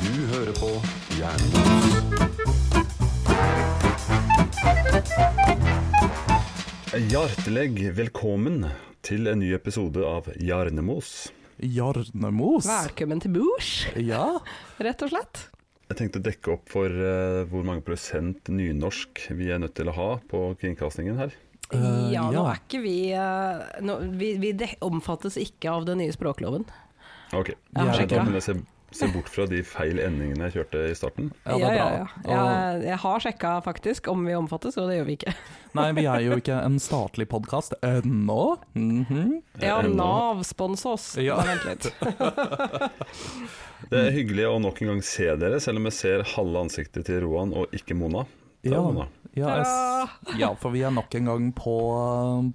Du hører på Jernbos. Hjertelig velkommen til en ny episode av Jarnemos. Jarnemos? Velkommen til bords, Ja. rett og slett. Jeg tenkte å dekke opp for eh, hvor mange prosent nynorsk vi er nødt til å ha på kringkastingen her. Eh, ja, nå ja. er ikke vi eh, nå, Vi, vi de omfattes ikke av den nye språkloven. Ok, Ja, Så sjekk Da det. kan jeg se, se bort fra de feil endingene jeg kjørte i starten. Ja, det er bra. ja. Jeg, jeg har sjekka faktisk om vi omfattes, og det gjør vi ikke. Og, nei, vi er jo ikke en statlig podkast ennå. Mhm. Ja, Eh, Nav spons oss. Ja. Bare Vent litt. Det er hyggelig å nok en gang se dere, selv om jeg ser halve ansiktet til Roan og ikke Mona. Ta ja, Mona. ja, jeg s- ja, for vi er nok en gang på,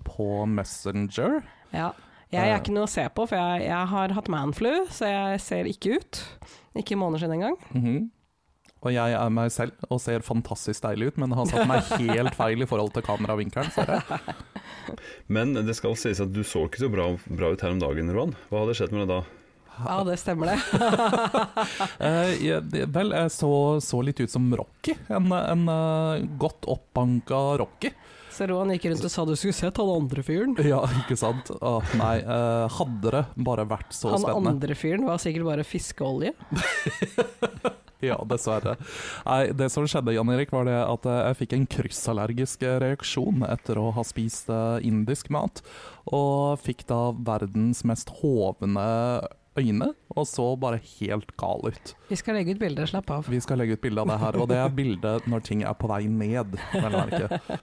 på Messenger. Ja. Jeg Eh. er ikke noe å se på, for jeg, jeg har hatt manflu, så jeg ser ikke ut. Ikke i måneskinn engang. Mhm. Og jeg er meg selv og ser fantastisk deilig ut, men har satt meg helt feil i forhold til kameravinkelen. Ser jeg. Men det skal sies at du så ikke så bra, bra ut her om dagen, Roan. Hva hadde skjedd med deg da? Ja, det stemmer det. Eh, jeg- det- vel, jeg så, så litt ut som Rocky. En, en eh, godt oppbanka Rocky. Så Roan gikk rundt og sa du skulle sett han andre fyren. Ja, ikke sant? Åh, nei, eh, hadde det bare vært så Han spennende. andre fyren var sikkert bare fiskeolje. Ja, dessverre. Nei, det som skjedde, Jan Erik, var det at eh, jeg fikk en kryssallergisk reaksjon etter å ha spist eh, indisk mat, og fikk da verdens mest hovne øyne, og så bare helt gal ut. Vi skal legge ut bilde, slapp av. Vi skal legge ut bilde av det her, og det er bildet når ting er på vei ned, vel å merke.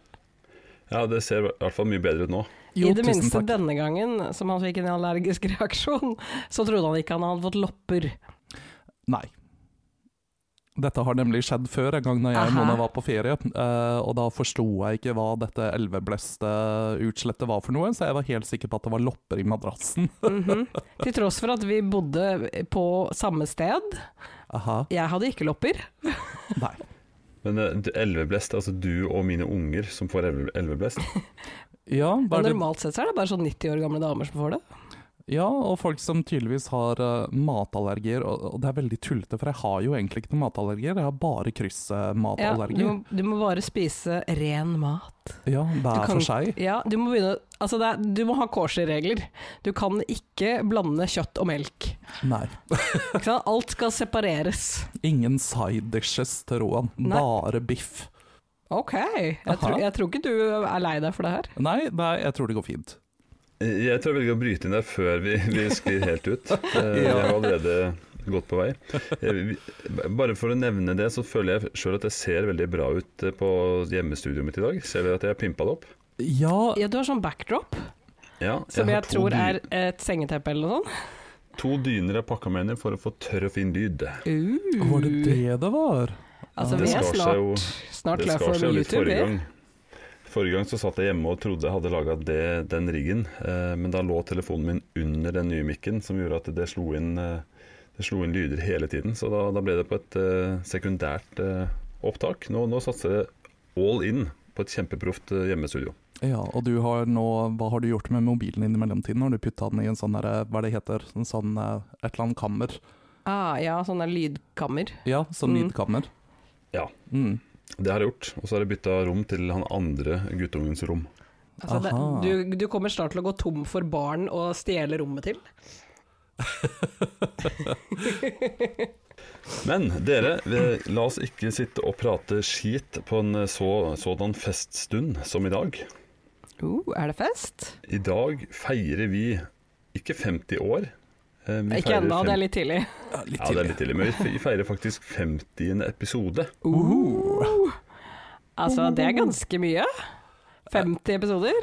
Ja, det ser i hvert fall mye bedre ut nå. Jo, I det tusen minste takk. denne gangen som han fikk en allergisk reaksjon, så trodde han ikke han hadde fått lopper. Nei. Dette har nemlig skjedd før, en gang da jeg og Aha. Mona var på ferie. eh, og da forsto jeg ikke hva dette elvebleste utslettet var for noe, så jeg var helt sikker på at det var lopper i madrassen. Mhm. Til tross for at vi bodde på samme sted. Aha, Jeg hadde ikke lopper. nei. Men eh, du- elveblest, altså du og mine unger som får elve- elveblest. Ja, hva Men er det? normalt sett så er det bare sånn 90 år gamle damer som får det. ja, og folk som tydeligvis har eh, matallergier, og, og det er veldig tullete, for jeg har jo egentlig ikke noen matallergier, jeg har bare Ja, du, kryssmatallergier. må, du må bare spise ren mat. Ja, hver kan- for seg. Ja, du må begynne Altså, det er, du må ha kosher-regler. Du kan ikke blande kjøtt og melk. Nei. Ikke sant? Alt skal separeres. Ingen side dishes til Roan, Nei. bare biff. Ok. Jeg, Aha. tror- jeg tror ikke du er lei deg for det her. Nei, nei, jeg tror det går fint. Eh, Jeg tror jeg velger å bryte inn der før vi, vi sklir helt ut. Eh, Jeg har allerede gått på vei. Eh, vi- Bare for å nevne det, så føler jeg sjøl at jeg ser veldig bra ut eh, på hjemmestudioet mitt i dag. Ser dere at jeg har pimpa det opp? Ja, Ja, du har sånn backdrop, Ja, som har jeg, to tror dy- er et sengeteppe eller noe sånt. To dyner jeg pakka meg inn i for å få tørr og fin lyd. var det det det var? Uh. Altså, Det vi er skar seg jo- snart, snart Det klar skar for seg jo litt YouTube. forrige vi. gang. Forrige gang så satt jeg hjemme og trodde jeg hadde laga den riggen, eh, men da lå telefonen min under den nye mikken, som gjorde at det slo inn, eh, det slo inn lyder hele tiden. Så da, da ble det på et eh, sekundært eh, opptak. Nå, nå satser jeg all in på et kjempeproft eh, hjemmestudio. Ja, og du har nå, hva har du gjort med mobilen din i mellomtiden? Har du putta den i en sånn derre, hva er det heter, en sånn eh, et eller annet kammer? Ah, ja, sånn der lydkammer. Ja, sånn Mm. lydkammer. Ja, Mm. det har jeg gjort. Og så har jeg bytta rom til han andre guttungens rom. Altså, det, Aha. du, du kommer snart til å gå tom for barn å stjele rommet til. Men dere, vi- la oss ikke sitte og prate skit på en eh, så, sådan feststund som i dag. Uh, er det fest? I dag feirer vi ikke 50 år. eh, vi Ikke feirer ennå, fem- det er litt tidlig. Ja, litt Ja, det er litt tidlig, men vi fe- vi feirer faktisk 50. episode. Uh. Altså, det er ganske mye. 50 episoder.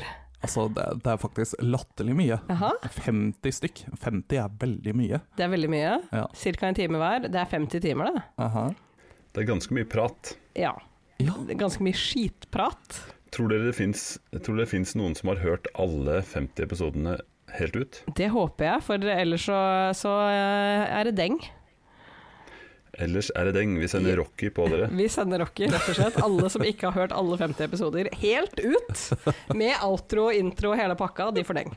Altså, det, det er faktisk latterlig mye. Aha. 50 stykk. 50 er veldig mye. Det er veldig mye. Ja. Cirka en time hver. Det er 50 timer, det. Aha. Det er ganske mye prat. Ja. Ja. Det er Ganske mye skitprat. Tror dere det fins tror dere det finnes noen som har hørt alle 50 episodene helt ut? Det håper jeg, for ellers så, så eh, er det deng. Ellers er det deng. Vi sender Rocky på dere. Vi sender Rocky, rett og slett. Alle som ikke har hørt alle 50 episoder, helt ut! Med outro, intro, hele pakka. De får deng.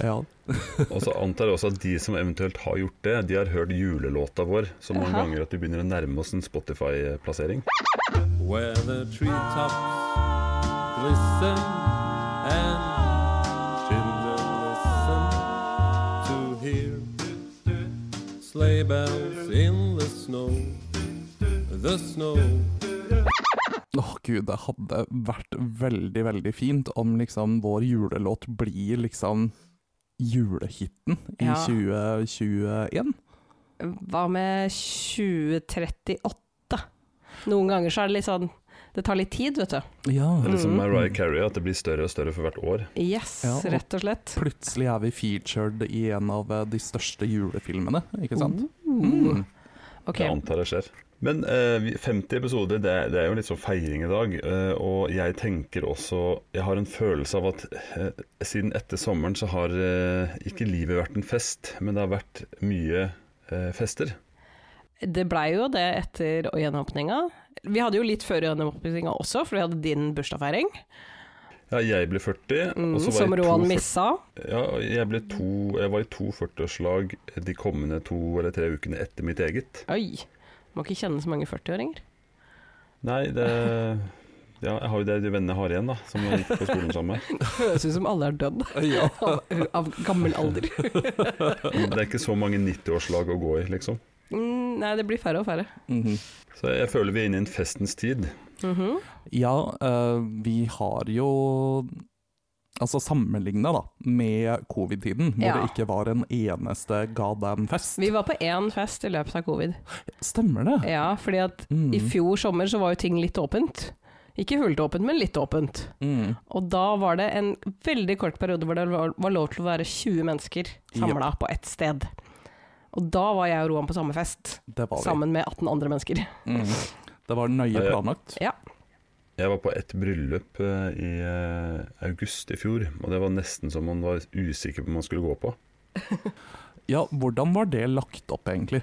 Ja. Og så antar jeg også at de som eventuelt har gjort det, de har hørt julelåta vår så mange Jaha. ganger at vi begynner å nærme oss en Spotify-plassering. where the treetops glisten and children listen to hear sleigh bells in the snow, the snow. Åh gud, det hadde vært veldig, veldig fint om liksom vår julelåt blir liksom julehiten i Ja. 2021. Hva med 2038? Noen ganger så er det litt sånn Det tar litt tid, vet du. Ja. Eller som Mhm. Mariah Carey, at det blir større og større for hvert år. Yes, Ja, og- rett og slett. Plutselig er vi featured i en av eh, de største julefilmene, ikke sant? Mm. Mm. Ok, Jeg antar det skjer. Men eh, vi- 50 episoder, det er, det er jo litt sånn feiring i dag. eh, og jeg tenker også Jeg har en følelse av at eh, siden etter sommeren så har eh, ikke livet vært en fest, men det har vært mye eh, fester. Det blei jo det etter gjenåpninga. Vi hadde jo litt før gjenåpninga også, for vi hadde din bursdagsfeiring. Ja, jeg ble 40, Mm, og så var som jeg to Roan 40 missa. Ja, jeg, ble to, jeg var i to 40-årslag de kommende to eller tre ukene etter mitt eget. Oi. Må ikke kjenne så mange 40-åringer. Nei, det Ja, jeg har jo det de vennene jeg har igjen, da, som jeg gikk på skolen sammen med. Høres ut som alle er dødd Ja. av, av gammel alder. Men Det er ikke så mange 90-årslag å gå i, liksom. Mm, nei, det blir færre og færre. Mhm. Så jeg føler vi er inne i en festens tid. Mhm. Ja, eh, vi har jo Altså sammenligna da, med covid-tiden, hvor Ja. det ikke var en eneste ga deg fest. Vi var på én fest i løpet av covid. Stemmer det? Ja, fordi at Mm. i fjor sommer så var jo ting litt åpent. Ikke fullt åpent, men litt åpent. Mm. Og da var det en veldig kort periode hvor det var var lov til å være 20 mennesker samla på ett sted. Og da var jeg og Roan på samme fest, Det var vi. sammen med 18 andre mennesker. Mm. Det var nøye Ja, ja. planlagt. Jeg var på et bryllup eh, i eh, august i fjor, og det var nesten som man var usikker på om man skulle gå på. Ja, hvordan var det lagt opp, egentlig?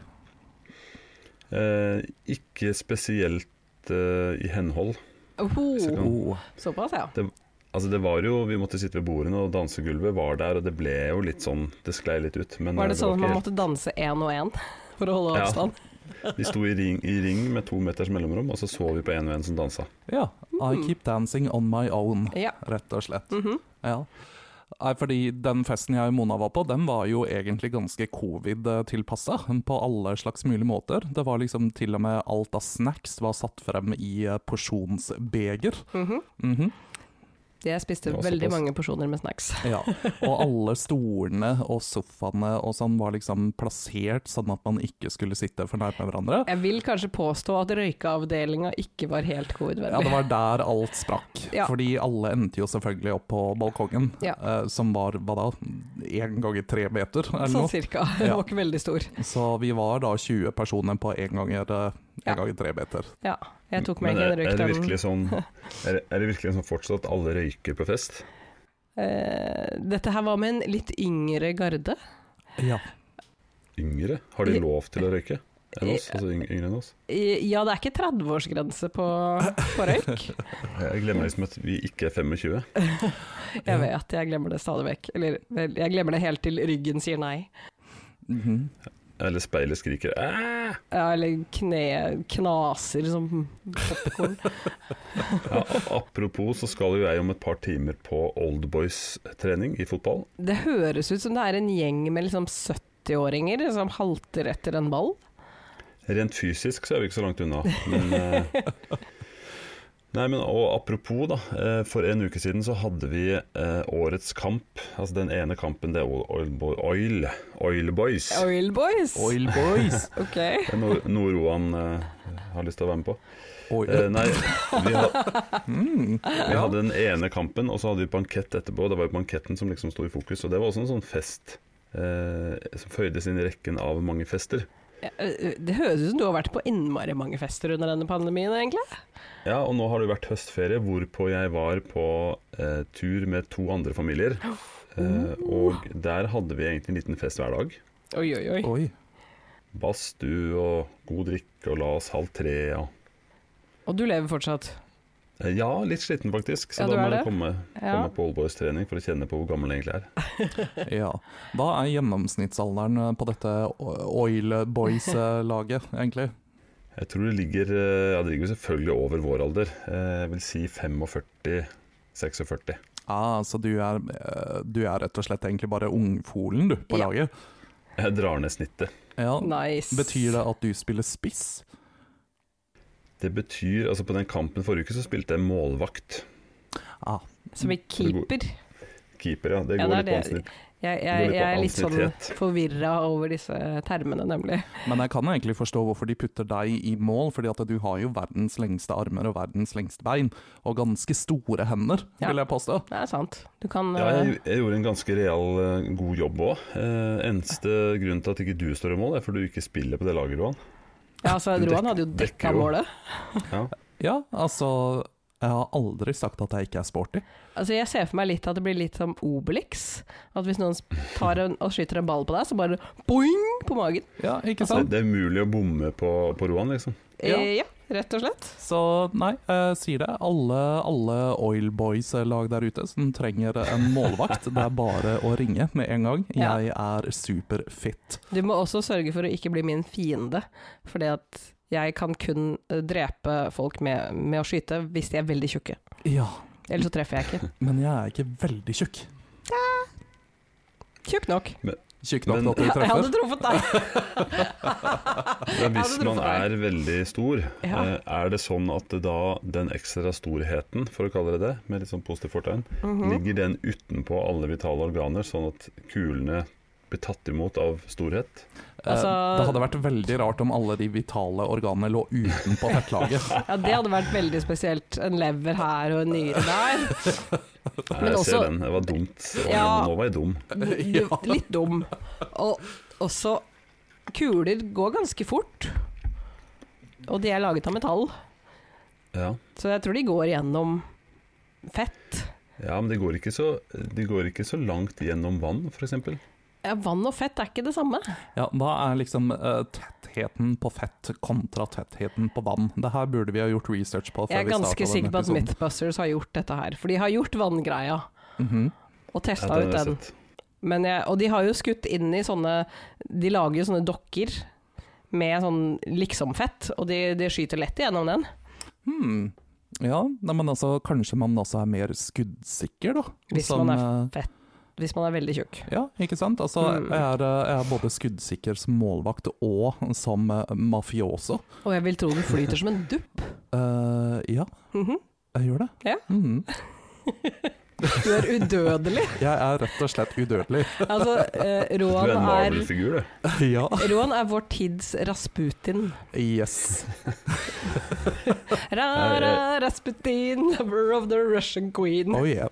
Eh, ikke spesielt eh, i henhold. Så Oho, kan- Oh. såpass, ja. Altså det var jo, Vi måtte sitte ved bordene, og dansegulvet var der, og det ble jo litt sånn Det sklei litt ut. Men Var det eh, sånn var at man ikke måtte danse én og én for å holde Ja. avstand? helt- Vi sto i ring, i ring med to meters mellomrom, og så så vi på en og en som dansa. Ja. I Mm. keep dancing on my own, Ja. rett og slett. Mhm. Ja. Nei, fordi Den festen jeg og Mona var på, den var jo egentlig ganske covid-tilpassa. På alle slags mulige måter. Det var liksom til og med alt av snacks var satt frem i eh, porsjonsbeger. Mhm. Mhm. Jeg spiste Det var veldig såpass. mange porsjoner med snacks. Ja, og alle stolene og sofaene og sånn var liksom plassert sånn at man ikke skulle sitte for nært med hverandre. Jeg vil kanskje påstå at røykeavdelinga ikke var helt Ja, det covid-vennlig. var der alt sprakk. Ja. Fordi alle endte jo selvfølgelig opp på balkongen, Ja. eh, som var hva da, én ganger tre meter eller sånn noe. cirka. Den Ja. var ikke veldig stor. Så vi var da 20 personer på én ganger, eh, en Ja. ganger tre meter. Ja. Jeg tok meg Men ikke er, en er det røyk den. virkelig sånn er, det- er det virkelig sånn fortsatt at alle røyker på fest? Eh, dette her var med en litt yngre garde. Ja. Yngre? Har de lov til å røyke? Enn oss? Altså yng- yngre enn oss? I- Ja, det er ikke 30-årsgrense på, på røyk. Jeg glemmer liksom at vi ikke er 25. Jeg vet, jeg glemmer det stadig vekk. Eller vel, jeg glemmer det helt til ryggen sier nei. Mhm. Eller speilet skriker Æ! Ja, Eller kne, knaser som popkorn. Ja, a- apropos så skal jo jeg om et par timer på oldboys-trening i fotball. Det høres ut som det er en gjeng med liksom 70-åringer som halter etter en ball. Rent fysisk så er vi ikke så langt unna. Men, eh, nei, men og apropos, da. eh, For en uke siden så hadde vi eh, årets kamp. Altså den ene kampen, det er Oil, Oil, Oil, Oil Boys. Oil boys! Oil boys! Ok. Det er noe noe Roan eh, har lyst til å være med på. Oi. Eh, nei, vi, ha, Mm. vi hadde den ene kampen, og så hadde vi bankett etterpå. Det var jo banketten som liksom sto i fokus, og det var også en sånn fest. eh, som føydes inn i rekken av mange fester. Ja, ø, Det høres ut som du har vært på innmari mange fester under denne pandemien, egentlig. Ja, og nå har det jo vært høstferie, hvorpå jeg var på eh, tur med to andre familier. Eh, og der hadde vi egentlig en liten fest hver dag. Oi, oi, oi. Oi. badstue og god drikke og la oss halv tre. Og... Og du lever fortsatt. Eh, Ja, litt sliten faktisk, så Ja, du da er må jeg det. komme, Ja. komme på oldboys-trening for å kjenne på hvor gammel jeg egentlig er. Ja. Hva er gjennomsnittsalderen eh, på dette Oil Boys-laget, egentlig? Jeg tror det ligger eh, Ja, det ligger jo selvfølgelig over vår alder. Eh, Jeg vil si 45-46. Ah, så du er, eh, du er rett og slett egentlig bare ungfolen, du, på Ja. laget? Jeg drar ned snittet. Ja. Nice. Betyr det at du spiller spiss? Det betyr Altså, på den kampen forrige uke så spilte jeg målvakt. Ah, Som en keeper. Keeper, ja. Det Ja, går det er litt på det. ansnitt. Jeg, Går jeg, litt på jeg er litt sånn ansiennitet. forvirra over disse termene, nemlig. Men jeg kan egentlig forstå hvorfor de putter deg i mål, fordi at du har jo verdens lengste armer og verdens lengste bein, og ganske store hender, Ja. vil jeg påstå. Det er sant. Du kan Ja, eh, jeg, jeg gjorde en ganske real eh, god jobb òg. Eh, eneste grunnen til at ikke du står i mål, er fordi du ikke spiller på det laget, Roan. Ja, altså, Du Roan dek- hadde jo dekker dekka jo. målet. Ja. Ja, altså Jeg har aldri sagt at jeg ikke er sporty. Altså, jeg ser for meg litt at det blir litt som Obelix. At hvis noen tar en, og skyter en ball på deg, så bare boing på magen. Ja, ikke Det, sant? det er umulig å bomme på, på Roan, liksom. Ja. Ja. Eh, ja, rett og slett. Så nei, jeg sier det. Alle, alle Oil Boys-lag der ute som trenger en målvakt, det er bare å ringe med en gang. Ja. Jeg er superfit. Du må også sørge for å ikke bli min fiende, fordi at jeg kan kun eh, drepe folk med, med å skyte hvis de er veldig tjukke. Ja, Ellers så treffer jeg ikke. men jeg er ikke veldig tjukk. Tjukk nok. Tjukk nok Men- til at du Jeg hadde treffer. truffet deg. Men hvis det tror man jeg. er veldig stor, Ja. eh, er det sånn at da den ekstra storheten, for å kalle det det, med litt sånn positivt fortegn, Mhm. Mm. ligger den utenpå alle vitale organer, sånn at kulene blir tatt imot av storhet? Eh, Altså- det hadde vært veldig rart om alle de vitale organene lå utenpå fettlaget. Ja, det hadde vært veldig spesielt. En lever her og en nyre der. Nei, Men Eh, jeg også- ser den. Det var dumt. Å, Ja. Nå var jeg dum. Du, litt dum. Og også Kuler går ganske fort, og de er laget av metall, Ja. så jeg tror de går gjennom fett. ja, men det går, ikke så, det går ikke så langt gjennom vann, f.eks. Ja, vann og fett er ikke det samme. Ja, hva er liksom eh, tettheten på fett kontra tettheten på vann? Det her burde vi ha gjort research på. før Jeg er vi ganske startet sikker på denne at episoden. Mythbusters har gjort dette her, for de har gjort vanngreia Mhm. og testa Ja, den har ut jeg den. sett. Men jeg, og de har jo skutt inn i sånne De lager jo sånne dokker med sånn liksomfett, og de, de skyter lett igjennom den. hmm. Ja, nei, men altså, kanskje man også er mer skuddsikker, da. Hvis man er fett. Hvis man er veldig tjukk. eh, Ja, ikke sant. Altså, Mm. jeg, er, eh, jeg er både skuddsikker som målvakt og som eh, mafioso. Og jeg vil tro den flyter som en dupp. Eh, ja, Mhm. jeg gjør det. Ja. Mhm. Du er udødelig. Jeg er rett og slett udødelig. Altså, eh, Du er Roan, en er, Marvel-figur, du. ja. Roan er vår tids Rasputin. Yes. Ra, ra, Rasputin, lover of the Russian queen. Oh yeah.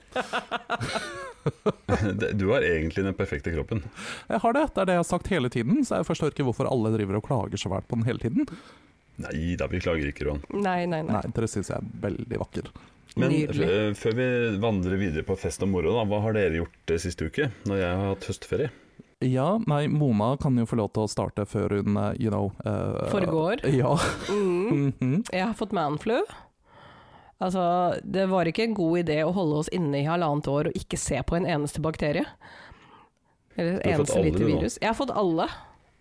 Det- Du har egentlig den perfekte kroppen. Jeg har det, det er det jeg har sagt hele tiden, så jeg forstår ikke hvorfor alle driver og klager så fælt på den hele tiden. Nei da, vi klager ikke, Roan. Nei, nei, nei. Nei, dere syns jeg er veldig vakker. Men Nydelig. eh, før vi vandrer videre på fest og moro, da, hva har dere gjort eh, siste uke? Når jeg har hatt høstferie? Ja, nei, Mona kan jo få lov til å starte før hun, eh, you know eh, Foregår. Ja. Mm. mhm. Jeg har fått manflu. Altså, det var ikke en god idé å holde oss inne i halvannet år og ikke se på en eneste bakterie. Eller Du har fått eneste alle, lite du, nå. virus. Jeg har fått alle.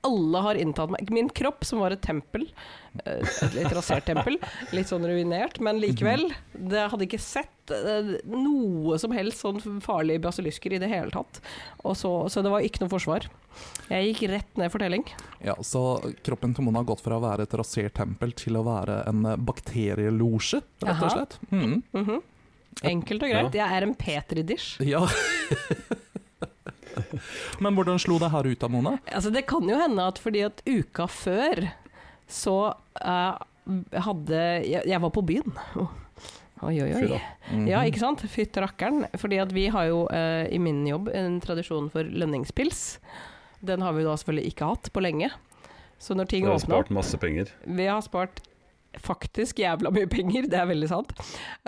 Alle har inntatt meg. Min kropp, som var et tempel, eh, et litt rasert tempel, litt sånn ruinert, men likevel. Det hadde ikke sett eh, noe som helst sånn farlige basilisker i det hele tatt. Og så, så det var ikke noe forsvar. Jeg gikk rett ned for telling. ja, Så kroppen til Mona har gått fra å være et rasert tempel til å være en eh, bakterielosje, rett og Aha. slett. Mhm. Mhm. Enkelt og greit. Jeg er en petridisj. Ja. Men hvordan slo det her ut da, Mona? Altså, det kan jo hende at fordi at uka før så eh, hadde jeg, jeg var på byen. Oi, oi, Fy y. da. Mhm. Ja, ikke sant? Fytt rakkeren. Fordi at vi har jo eh, i min jobb en tradisjon for lønningspils. Den har vi da selvfølgelig ikke hatt på lenge. Så når ting Dere har åpner opp spart masse penger. Vi har spart faktisk jævla mye penger, det er veldig sant.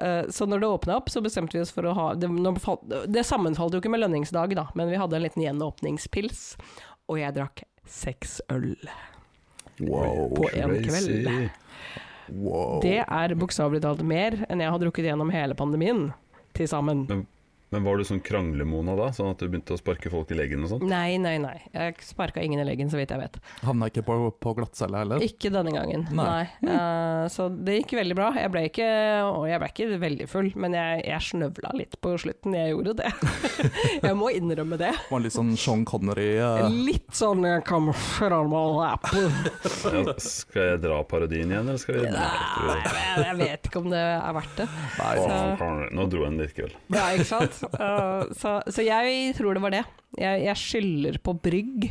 Eh, så når det åpna opp, så bestemte vi oss for å ha Det, nå falt- det sammenfalt jo ikke med lønningsdag, da, men vi hadde en liten gjenåpningspils, og jeg drakk seks øl. Wow, På en crazy. kveld. Wow. Det er bokstavelig talt mer enn jeg har drukket gjennom hele pandemien til sammen. Men var du sånn kranglemona da, sånn at du begynte å sparke folk i leggen og sånn? Nei, nei, nei. Jeg sparka ingen i leggen, så vidt jeg vet. Havna ikke på, på glattcelle heller. Ikke denne gangen, nei. Nei. Eh, så det gikk veldig bra. Jeg ble ikke, og jeg ble ikke veldig full, men jeg, jeg snøvla litt på slutten. Jeg gjorde det. jeg må innrømme det. Var litt sånn Sean Connery. eh, Litt sånn jeg kommer fra Ja, skal jeg dra parodien igjen, eller skal vi Nei, Nei, jeg, jeg vet ikke om det er verdt det. nei, jeg tror- så- Faen, Nå dro jeg den likevel. Ja, ikke sant? Eh, så, så jeg tror det var det. Jeg, jeg skylder på Brygg,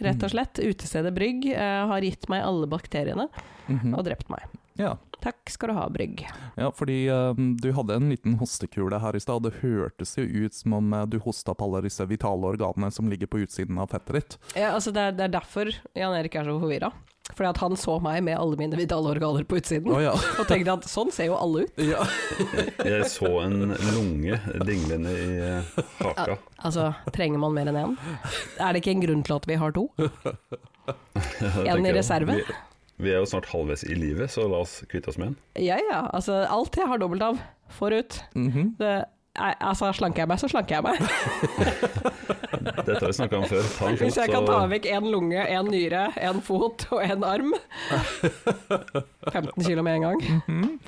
rett Mm. og slett. Utestedet Brygg eh, har gitt meg alle bakteriene og mhm. drept meg. ja. Takk skal du ha, Brygg. ja, fordi eh, du hadde en liten hostekule her i stad. Det hørtes jo ut som om eh, du hosta opp alle disse vitale organene som ligger på utsiden av fettet ditt. Ja, altså det, er, det er derfor Jan Erik er så forvirra. Fordi at han så meg med alle mine vitale organer på utsiden. Å ja. Og tenkte at sånn ser jo alle ut. ja. Jeg så en lunge dinglende i eh, haka. Altså, trenger man mer enn én? Er det ikke en grunn til at vi har to? Jeg En i tenker, reserve? Vi, vi er jo snart halvveis i livet, så la oss kvitte oss med en. Ja ja, altså alt jeg har dobbelt av, forut. Mhm. Det, nei, altså, slanker jeg meg, så slanker jeg meg. Dette har vi snakka om før. Ta en fot, Hvis jeg kan så- ta vekk én lunge, én nyre, én fot og én arm 15 kilo med en gang. Mhm.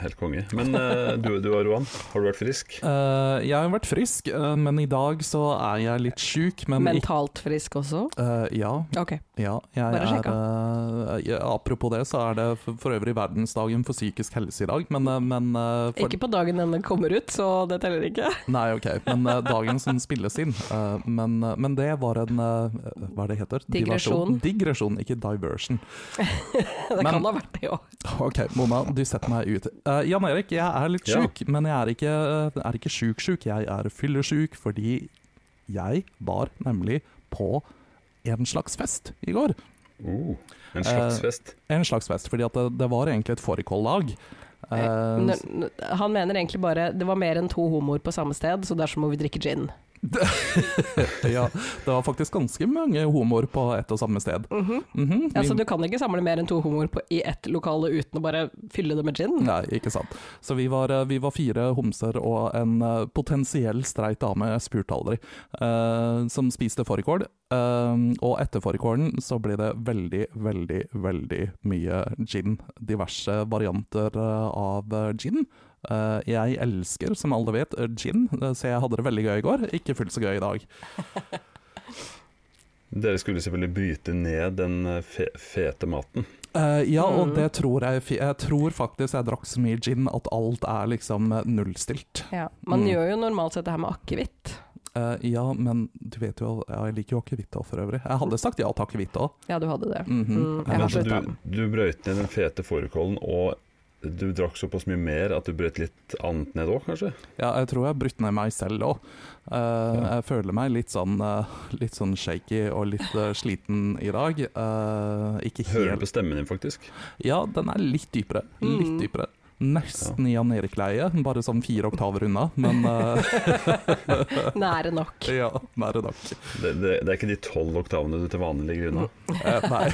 Helt konge. Men eh, du, du og Roan, har du vært frisk? Eh, jeg har vært frisk, eh, men i dag så er jeg litt sjuk. Men ikke Mentalt frisk også. Eh, ja, Ok. ja. Jeg Bare er, eh, ja, apropos det, så er det for, for øvrig verdensdagen for psykisk helse i dag, men, eh, men eh, for, Ikke på dagen denne kommer ut, så det teller ikke. Nei, ok, men eh, dagen som spilles inn. eh, men, eh, men det var en eh, Hva er det heter? Digresjon. Diversjon. Digresjon, ikke diversion. Det Men- kan ha vært det òg. Ok, Mona, du setter meg ut. Eh, Jan Erik, jeg er litt Ja. sjuk, men jeg er ikke, eh, er ikke sjuk-sjuk. Jeg er fyllesjuk fordi jeg var nemlig på en slags fest i går. Uh, en slags Eh, fest. En slags fest, fordi at det, det var egentlig et fårikållag. Eh, s- Han mener egentlig bare det var mer enn to homoer på samme sted, så derfor må vi drikke gin. ja, det var faktisk ganske mange homoer på ett og samme sted. Mhm, vi- Altså, du kan ikke samle mer enn to homoer på, i ett lokale uten å bare fylle det med gin. Nei, ikke sant. Så vi var, eh, vi var fire homser og en eh, potensiell streit dame, jeg spurte aldri, eh, som spiste fårikål. Eh, og etter fårikålen så ble det veldig, veldig, veldig mye gin. Diverse varianter eh, av eh, gin. Eh, jeg elsker, som alle vet, eh, gin, eh, så jeg hadde det veldig gøy i går. Ikke fullt så gøy i dag. Dere skulle selvfølgelig bryte ned den eh, fe fete maten. Eh, ja, og Mm. det tror jeg fi- Jeg tror faktisk jeg drakk så mye gin at alt er liksom eh, nullstilt. Ja. Man Mm. gjør jo normalt sett det her med akevitt. Eh, ja, men du vet jo ja, Jeg liker jo akevitt også, for øvrig. Jeg hadde sagt ja til akevitt òg. Ja, du hadde det. Mhm. Mm, jeg Men har så sluttet. du, du brøyt ned den fete fårikålen, og du drakk såpass mye mer at du brøt litt annet ned òg, kanskje? Ja, jeg tror jeg brytte ned meg selv òg. Jeg føler meg litt sånn, eh, litt sånn shaky og litt eh, sliten i dag. Eh, ikke Hører du helt på stemmen din, faktisk? Ja, den er litt dypere. Mm. Litt dypere. Nesten i Jan Erik-leie, bare sånn fire oktaver unna, men eh, Nære nok. ja, nære nok. Det, det, det er ikke de tolv oktavene du til vanlig ligger unna? Eh,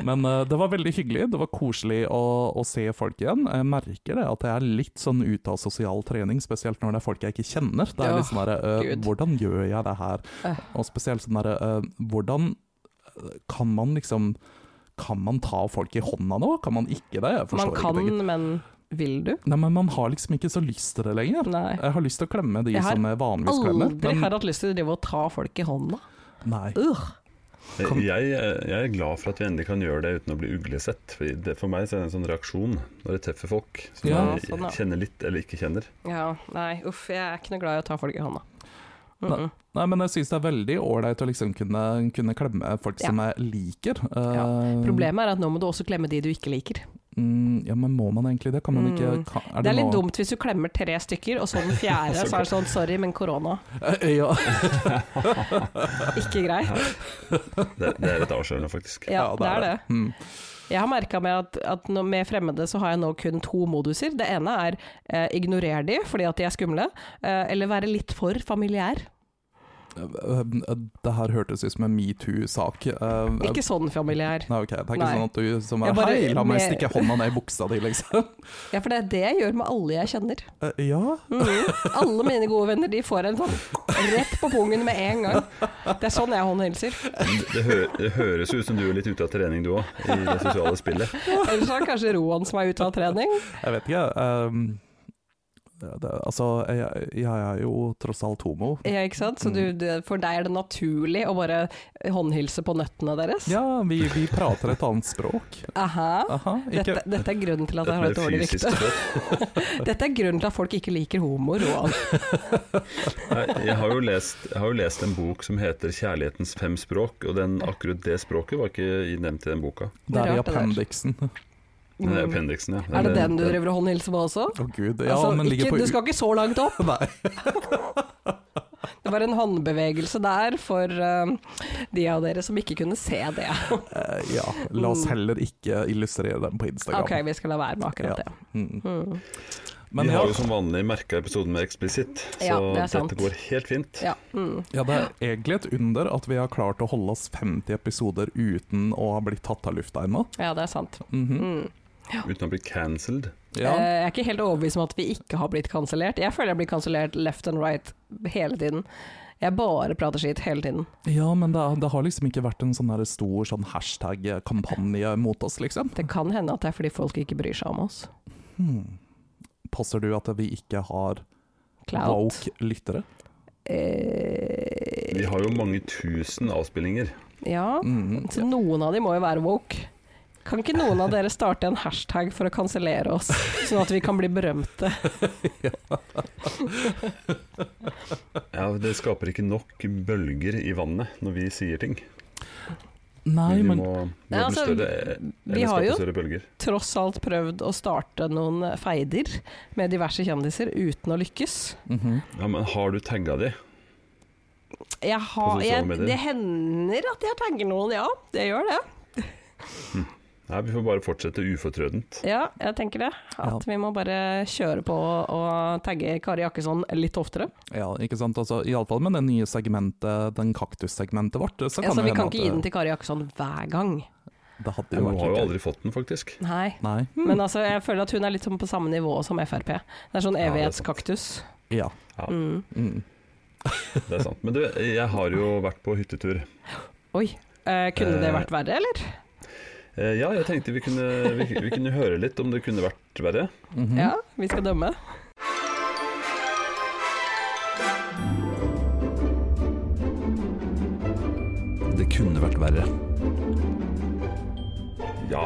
nei. Men eh, det var veldig hyggelig. Det var koselig å, å se folk igjen. Jeg merker det at jeg er litt sånn ute av sosial trening, spesielt når det er folk jeg ikke kjenner. Det er litt sånn der, eh, Gud. Hvordan gjør jeg det her? Eh. Og spesielt sånn derre eh, Hvordan eh, kan man liksom Kan man ta folk i hånda nå? Kan man ikke det? Jeg Man forstår ikke. kan, men vil du? det. Nei, men man har liksom ikke så lyst til det lenger. Nei. Jeg har lyst til å klemme de Mm. Jeg har som jeg vanligvis klemmer. Aldri har hatt lyst til å drive og ta folk i hånda. nei. Ugh. Jeg, jeg er glad for at vi endelig kan gjøre det uten å bli uglesett. Fordi det, for meg så er det en sånn reaksjon når jeg treffer folk som Ja, jeg sånn, ja. kjenner litt eller ikke kjenner. Ja, nei, uff, jeg er ikke noe glad i å ta folk i hånda. Mm -mm. Nei, men jeg syns det er veldig ålreit å liksom kunne, kunne klemme folk Ja. som jeg liker. Eh, Problemet er at nå må du også klemme de du ikke liker. Mm, ja, men må man egentlig det? Kan man ikke Mm. kan, Det er litt noe- dumt hvis du klemmer tre stykker, og så den fjerde, så er det sånn sorry, men korona. Eh, ja. Ikke greit. Det, det er litt avslørende, faktisk. Ja, det er det. Mm. Jeg har merka med at, at nå- med fremmede så har jeg nå kun to moduser. Det ene er eh, ignorer de fordi at de er skumle, eh, eller være litt for familiær. Eh, eh, Det her hørtes ut som en metoo-sak. Eh, Ikke sånn familie her. Nei, ok, Det er ikke Nei. sånn at du som er Jeg bare- Hei, la meg med- stikke hånda ned i buksa di, liksom. Ja, for det er det jeg gjør med alle jeg kjenner. Eh, ja. Mhm. Alle mine gode venner de får en sånn rett på pungen med en gang. Det er sånn jeg håndhilser. Det, det, hø det høres ut som du er litt ute av trening du òg, i det sosiale spillet. Ellers er det kanskje Roan som er ute av trening. Jeg vet ikke. ehm, det, det, altså, jeg, jeg er jo tross alt homo. Ja, ikke sant? Mm. Så du, du, for deg er det naturlig å bare håndhilse på nøttene deres? Ja, vi, vi prater et annet språk. Aha. Aha, ikke, Dette, dette er grunnen til at jeg har mer et dårlig fysisk rykte. språk. Dette er grunnen til at folk ikke liker homo, Roan. Nei, Jeg har, jo lest, jeg har jo lest en bok som heter 'Kjærlighetens fem språk', og den, akkurat det språket var ikke nevnt i den boka. det er i rart, det der. appendiksen. Å Den er appendiksen, ja. Mm. Er det den du driver og håndhilser på også? gud. Ja, Altså, men ligger ikke, på du skal ikke så langt opp. u- Nei. Det var en håndbevegelse der for eh, de av dere som ikke kunne se det. Eh, ja, la oss heller ikke illustrere den på Instagram. Mm. Ok, vi skal la være med Ja. akkurat det. Mm. Mm. Men vi ja, har jo som vanlig merka episoden med eksplisitt, så Ja, det er sant. dette går helt fint. Ja. Mm. ja, det er egentlig et under at vi har klart å holde oss 50 episoder uten å ha blitt tatt av lufta ennå. ja, det er sant. Mhm. Mm. Uten å bli cancelled. Ja. Eh, Jeg er ikke helt overbevist om at vi ikke har blitt kansellert. Jeg føler jeg blir kansellert left and right hele tiden. Jeg bare prater skitt hele tiden. ja, men det, er- det har liksom ikke vært en sånn her stor sånn hashtag-kampanje mot oss, liksom. Det kan hende at det er fordi folk ikke bryr seg om oss. Hmm. Passer du at vi ikke har Clout. woke lyttere? Eh, Vi har jo mange tusen avspillinger. ja, Mhm. så noen av de må jo være woke. Kan ikke noen av dere starte en hashtag for å kansellere oss, sånn at vi kan bli berømte? Ja, Det skaper ikke nok bølger i vannet når vi sier ting. Nei, vi men må, vi Ja, må bli altså, større, eh, vi eller har skape jo- større bølger. Tross alt prøvd å starte noen feider med diverse kjendiser uten å lykkes. Mhm. Ja, men har du tagga de? Jeg har, sosiale jeg, medier? det hender at jeg tagger noen, ja. Det gjør det. Nei, vi får bare fortsette ufortrødent. Ja, jeg tenker det. At Ja. vi må bare kjøre på og tagge Kari Jakkesson litt oftere. Ja, ikke sant. Altså, Iallfall med det nye segmentet, den kaktussegmentet vårt. Så kan altså, det vi kan hende ikke gi at den til Kari Jakkesson hver gang. det- Det hadde Hun jo vært har jo litt gøy. aldri fått den, faktisk. Nei. Nei. Men altså, jeg føler at hun er litt sånn på samme nivå som Frp. Det er sånn Ja, det er sant. evighetskaktus. Ja. Ja. Mm. Mm. Det er sant. Men du, jeg har jo vært på hyttetur. Oi. eh, kunne det Eh, vært verre, eller? Eh, Ja, jeg tenkte vi kunne, vi, vi kunne høre litt om det kunne vært verre. Mhm. Ja, vi skal dømme. Det kunne vært verre. Ja,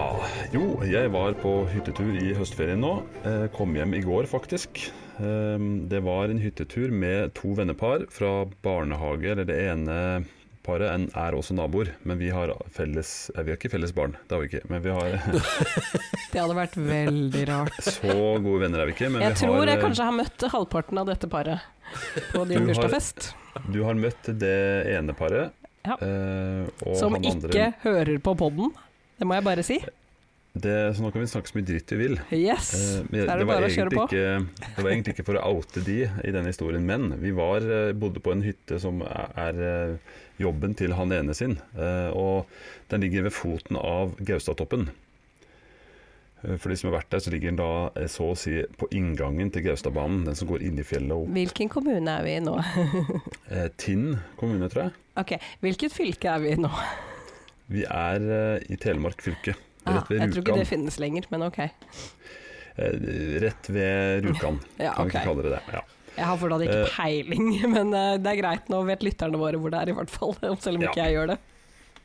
jo, jeg var på hyttetur i høstferien nå. Eh, Kom hjem i går, faktisk. Eh, Det var en hyttetur med to vennepar fra barnehage. eller Det ene paret en- er også naboer, men vi har felles eh, Vi har ikke felles barn, det har vi ikke. Men vi har Det hadde vært veldig rart. Så gode venner er vi ikke. Men Jeg vi tror har, eh, jeg kanskje har møtt halvparten av dette paret på Du din har- bursdagsfest. Du har møtt det ene paret. Ja. eh, og Som han andre- ikke hører på podden. Det må jeg bare si. det, Så nå kan vi snakke så mye dritt vi vil. Yes! Eh, men Da er det var bare å kjøre egentlig på. Ikke, det var egentlig ikke for å oute de i denne historien, men vi var, eh, bodde på en hytte som er, er eh, jobben til han ene sin. eh, Og den ligger ved foten av Gaustatoppen. Eh, For de som har vært der, så ligger den da eh, så å si på inngangen til Gaustadbanen. Den som går inn i fjellet og opp. Hvilken kommune er vi i nå? Eh, Tinn kommune, tror jeg. Ok, Hvilket fylke er vi i nå? Vi er eh, i Telemark fylke. Ah, Rett ved jeg tror ikke det Rjukan. finnes lenger, men ok. Eh, Rett ved Rjukan, Ja, kan vi ok. ikke kalle det det. Ja. Jeg har fortsatt Eh. ikke peiling, men eh, det er greit. Nå vet lytterne våre hvor det er, i hvert fall. Selv om Ja. ikke jeg gjør det.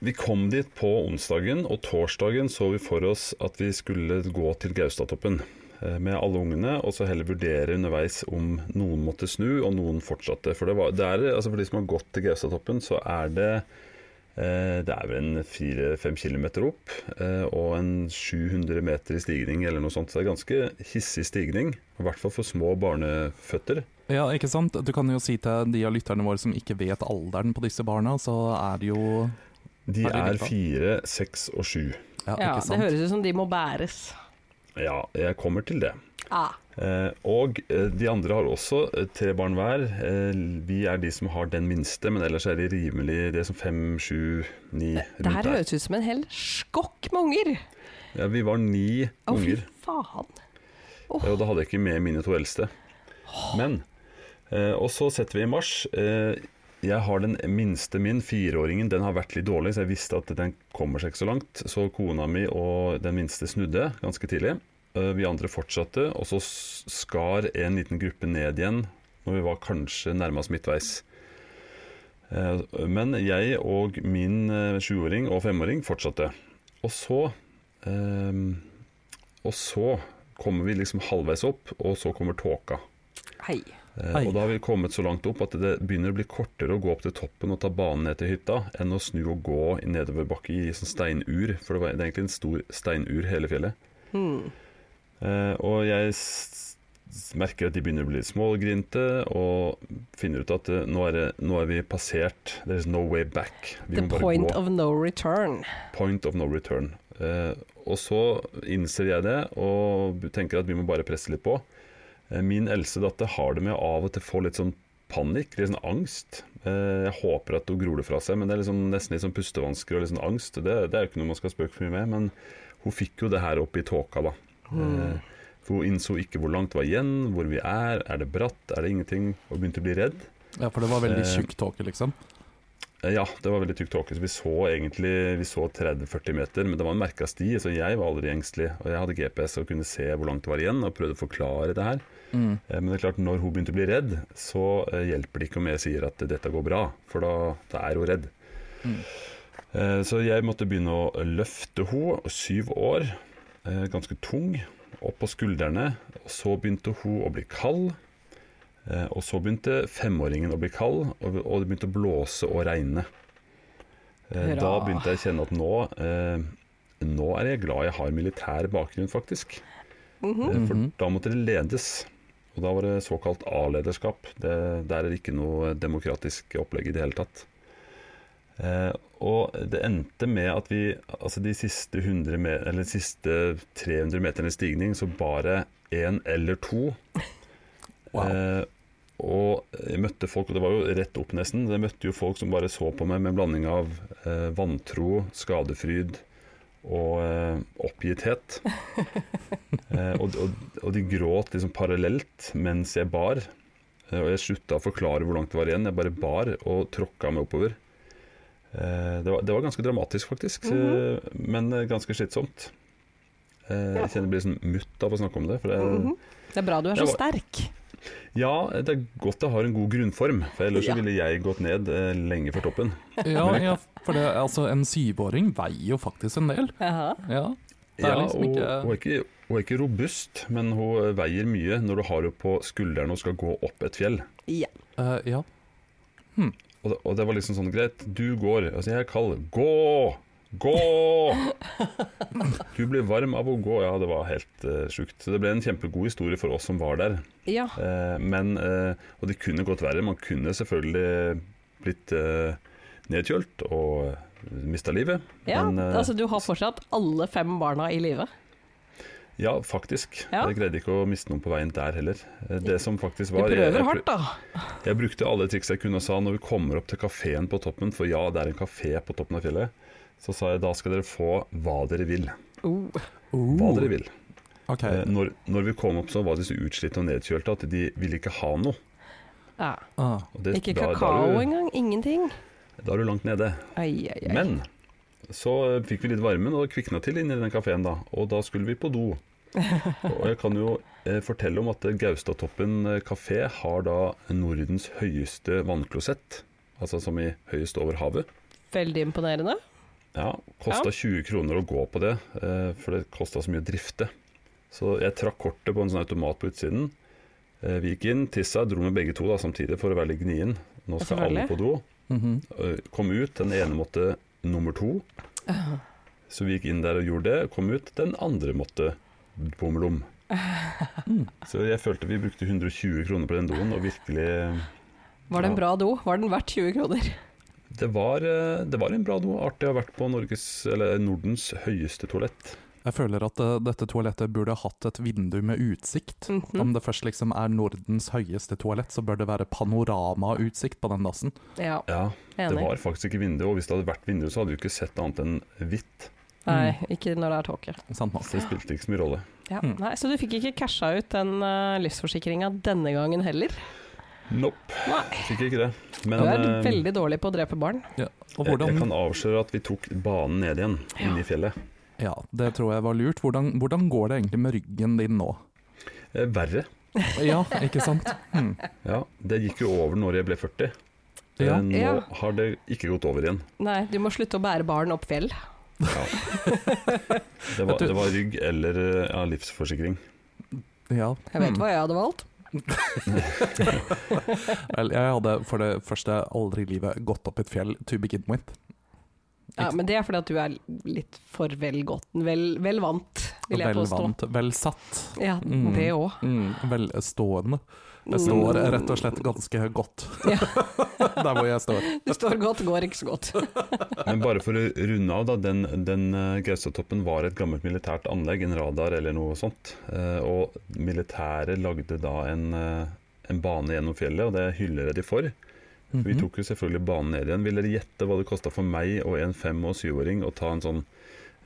Vi kom dit på onsdagen, og torsdagen så vi for oss at vi skulle gå til Gaustatoppen eh, med alle ungene, og så heller vurdere underveis om noen måtte snu, og noen fortsatte. For, det var, det er, altså for de som har gått til Gaustatoppen, så er det eh, det er vel en fire-fem kilometer opp eh, og en 700 meter i stigning eller noe sånt. Så det er ganske hissig stigning, i hvert fall for små barneføtter. Ja, ikke sant? Du kan jo si til de av lytterne våre som ikke vet alderen på disse barna, så er det jo De Har de er lykka? fire, seks og sju. Ja, Ja, ikke det sant? høres ut som de må bæres. Ja, jeg kommer til det. Ah, Eh, og eh, de andre har også eh, tre barn hver. Eh, vi er de som har den minste, men ellers er de rimelig det er som fem, sju, ni Det rundt her der. høres ut som en hel skokk med unger. Ja, vi var ni Å, fy unger, faen. og da hadde jeg ikke med mine to eldste. Men eh, Og så setter vi i mars. Eh, jeg har den minste min, fireåringen, den har vært litt dårlig, så jeg visste at den kommer seg ikke så langt. Så kona mi og den minste snudde ganske tidlig. Eh, Vi andre fortsatte, og så s- skar en liten gruppe ned igjen når vi var kanskje nærmest midtveis. Eh, Men jeg og min eh, sjuåring og femåring fortsatte. Og så eh, Og så kommer vi liksom halvveis opp, og så kommer tåka. Hei. Eh, Ai. Og da har vi kommet så langt opp at det begynner å bli kortere å gå opp til toppen og ta banen ned til hytta, enn å snu og gå nedoverbakke i sånn steinur, for det var det er egentlig en stor steinur hele fjellet. Hmm. Eh, og jeg s s- merker at de begynner å bli litt smågrinte, og finner ut at eh, nå er, det, nå er vi passert, there's no way back. Vi The må bare point gå. of no return. Point of no return. Eh, og så innser jeg det, og tenker at vi må bare presse litt på. Eh, min eldste datter har det med å av og til få litt sånn panikk, litt sånn angst. Eh, jeg håper at hun gror det fra seg, men det er liksom nesten litt sånn pustevansker og litt sånn angst. Det, det er jo ikke noe man skal spøke for mye med, men hun fikk jo det her oppe i tåka, da. Eh, for hun innså ikke hvor langt det var igjen, hvor vi er, er det bratt, er det ingenting, og begynte å bli redd. Ja, for det var veldig Eh. tjukk tåke, liksom. Eh, Ja, det var veldig tykk tåke. så Vi så egentlig vi så 30-40 meter, men det var en merka sti, så jeg var aldri engstelig. Og jeg hadde GPS og kunne se hvor langt det var igjen, og prøvde å forklare det her. Eh, Men det er klart, når hun begynte å bli redd, så eh, hjelper det ikke om jeg sier at dette går bra, for da, da er hun redd. Eh, Så jeg måtte begynne å løfte henne, syv år, eh, ganske tung, opp på skuldrene. Og så begynte hun å bli kald. Eh, Og så begynte femåringen å bli kald, og og det begynte å blåse og regne. Eh, Da Hurra. begynte jeg å kjenne at nå, eh, nå er jeg glad jeg har militær bakgrunn, faktisk. Eh, For da måtte det ledes. Og da var det såkalt A-lederskap. Det, der er det ikke noe demokratisk opplegg i det hele tatt. Eh, og det endte med at vi, altså de siste, 100 me eller de siste 300 meterne stigning, så bare én eller to. Wow. Eh, og jeg møtte folk, og det var jo rett opp nesten, jeg møtte jo folk som bare så på meg med en blanding av eh, vantro, skadefryd og eh, oppgitthet. eh, og, og, og de gråt liksom parallelt mens jeg bar. Eh, Og jeg slutta å forklare hvor langt det var igjen. Jeg bare bar og tråkka meg oppover. Eh, Det var, det var ganske dramatisk, faktisk, eh, men eh, ganske slitsomt. Eh, Jeg kjenner jeg blir sånn mutt av å snakke om det. For jeg, Det er bra du er Jeg så var- sterk. Ja, det er godt jeg har en god grunnform, for ellers Ja. så ville jeg gått ned eh, lenge før toppen. Ja, ja, for det, altså, en syvåring veier jo faktisk en del. Jaha. Ja. Det er Ja, liksom og, ikke- hun, er ikke, hun er ikke robust, men hun eh, veier mye når du har henne på skulderen og skal gå opp et fjell. Ja. Eh, ja. Og det, og det var liksom sånn greit, du går. Altså jeg er kald. Gå! Gå! Du blir varm av å gå. Ja, det var helt uh, sjukt. Så det ble en kjempegod historie for oss som var der. ja. Eh, men, eh, og det kunne gått verre. Man kunne selvfølgelig blitt eh, nedkjølt og uh, mista livet. ja. men, eh, Altså, du har fortsatt alle fem barna i live. ja, faktisk. Ja. Jeg greide ikke å miste noen på veien der heller. Eh, Det som faktisk Du var jeg- prøver jeg, hardt, da. Jeg brukte alle triks jeg kunne og sa når vi kommer opp til kafeen på toppen, for ja, det er en kafé på toppen av fjellet, så sa jeg da skal dere få hva dere vil. Oh. Hva Uh, dere vil. ok. Eh, Når, når vi kom opp, så var de så utslitte og nedkjølte at de ville ikke ha noe. Ja. Ah. Og det- Ikke da- da er kakao du- engang. Ingenting. Da er du langt nede. Ai, ai, ai. Men så eh, fikk vi litt varmen og kvikna til inni den kafeen, da. Og da skulle vi på do. Og jeg kan jo eh, fortelle om at eh, Gaustatoppen eh, kafé har da Nordens høyeste vannklosett. Altså som i høyest over havet. Veldig imponerende. Ja, kosta 20 kroner å gå på det, eh, for det kosta så mye å drifte. Så jeg trakk kortet på en sånn automat på utsiden. Eh, Vi gikk inn, tissa, dro med begge to da samtidig for å være litt gnien. Nå skal alle Selvfølgelig. på do. Eh, Kom ut, den ene måtte nummer to. Så vi gikk inn der og gjorde det. Kom ut, den andre måtte bomlom. Mm. Så jeg følte vi brukte 120 kroner på den doen, og virkelig Var det Ja. en bra do? Var den verdt 20 kroner? Det var, eh, det var en bra do. Artig å ha vært på Norges, eller Nordens høyeste toalett. Jeg føler at eh, dette toalettet burde hatt et vindu med utsikt. Mhm. Om det først liksom er Nordens høyeste toalett, så bør det være panoramautsikt på den dassen. Ja, Ja, det enig. var faktisk ikke vindu, og hvis det hadde vært vindu, så hadde du ikke sett annet enn hvitt. Nei, ikke når det er tåke. Sant nok. Så det spilte ikke så mye rolle. Ja. Mm. Nei, så du fikk ikke casha ut den uh, livsforsikringa denne gangen heller? Nope, Nei. fikk ikke det. Du Men er eh, veldig dårlig på å drepe barn. Og jeg, jeg hvordan, kan avsløre at vi tok banen ned igjen, Ja. inn i fjellet. ja, det tror jeg var lurt. Hvordan, hvordan går det egentlig med ryggen din nå? Eh, Verre. Ja, ikke sant? Mm. Ja, det gikk jo over når jeg ble 40. Eh, Ja. Nå Ja. har det ikke gått over igjen. Nei, du må slutte å bære barn opp fjell. Det var, det var rygg eller eh, ja, livsforsikring. ja. Jeg vet Mm. hva jeg hadde valgt. Vel, jeg hadde for det første aldri i livet gått opp et fjell to begin with. Ja, men det er fordi at du er litt for vel godt, vel, vel vant, vil jeg Vel påstå. vant, vel satt, Ja, Mm. det òg. mm, velstående. Jeg står eh, rett og slett ganske godt Mm. Ja. der hvor jeg står. Du står godt, går ikke så godt. Men bare for å runde av, da. Den, den eh, Gaustatoppen var et gammelt militært anlegg, en radar eller noe sånt. Eh, Og militæret lagde da en, eh, en bane gjennom fjellet, og det hyller jeg de for. Vi Mhm. tok jo selvfølgelig banen ned igjen. Vil dere gjette hva det kosta for meg og en fem- og syvåring å ta en sånn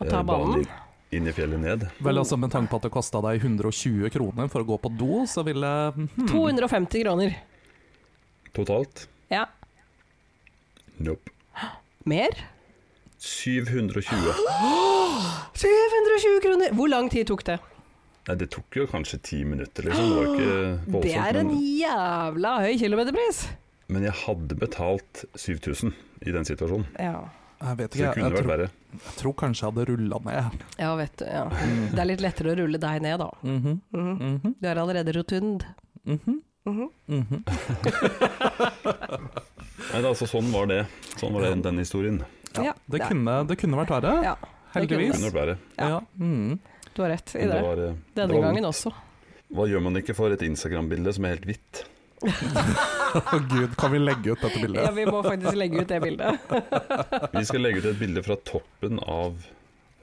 Å ta eh, banen? inn i fjellet ned? Vel, altså Med tanke på at det kosta deg 120 kroner for å gå på do, så ville hmm, 250 kroner. Totalt? Ja. Nope. Mer? 720. 720 kroner! Hvor lang tid tok det? Nei, det tok jo kanskje ti minutter, liksom. Det var ikke voldsomt. Det er en men- jævla høy kilometerpris! Men jeg hadde betalt 7000 i den situasjonen, Ja. Jeg vet så det ikke, kunne jeg, jeg, vært tror, verre. jeg tror kanskje jeg hadde rulla ned. ja, vet du. Ja. Det er litt lettere å rulle deg ned, da. Mhm, Mhm. mhm, Du er allerede rotund. mhm, Mhm. mhm. Nei, det, er altså, sånn var det. Sånn var det, den historien. Ja, Det det er- kunne, det kunne vært verre. Ja, det kunne Heldigvis. Kunne vært verre. Ja. Ja. Mm. Du har rett i Men Det det. var, eh, det Denne var, gangen også. Hva gjør man ikke for et Instagram-bilde som er helt hvitt? Å gud, kan vi legge ut dette Ja, bildet? vi må faktisk legge ut det bildet. Vi skal legge ut et bilde fra toppen av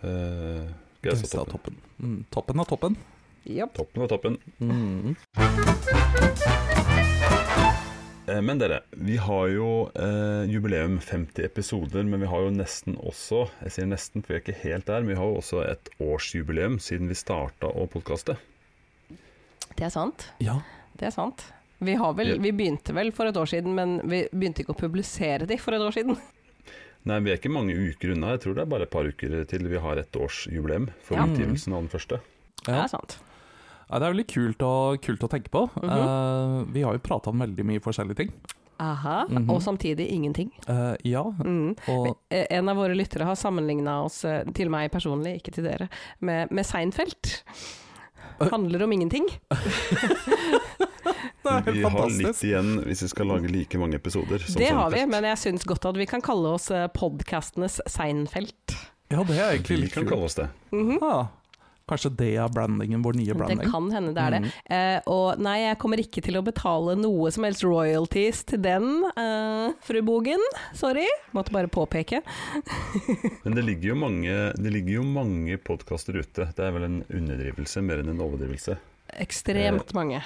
uh, Gaustatoppen. Gaustatoppen. Mm. Toppen av toppen. Japp. Toppen av toppen. Mm. Eh, Men dere, vi har jo eh, jubileum 50 episoder, men vi har jo nesten også Jeg sier nesten, for vi er ikke helt der, men vi har jo også et årsjubileum siden vi starta å podkaste. Det er sant. Ja. Det er sant. Vi, har vel, Ja. vi begynte vel for et år siden, men vi begynte ikke å publisere de for et år siden. Nei, vi er ikke mange uker unna. Jeg tror det er bare et par uker til vi har et årsjubileum for Ja. Mm. utgivelsen av den første. Det Ja. er sant. Ja, det er veldig kult, og, kult å tenke på. Mhm. Eh, vi har jo prata om veldig mye forskjellige ting. Aha, Mhm. Og samtidig ingenting. Eh, ja, Mm. og Eh, En av våre lyttere har sammenligna oss, eh, til meg personlig, ikke til dere, med, med Seinfeld. Handler om ingenting. det er helt Vi har litt fantastisk. igjen hvis vi skal lage like mange episoder. som sånn Det har vi, Seinfeld. men jeg syns godt at vi kan kalle oss eh, podkastenes Seinfeld. Ja, det er egentlig Vi litt kan kult. kalle oss det. Ah, kanskje det er Mm. brandingen, vår nye branding. Det kan hende det er det. Eh, og nei, jeg kommer ikke til å betale noe som helst royalties til den, eh, fru Bogen. Sorry. Måtte bare påpeke. Men det ligger jo mange, det ligger jo mange podkaster ute. Det er vel en underdrivelse mer enn en overdrivelse. Ekstremt mange.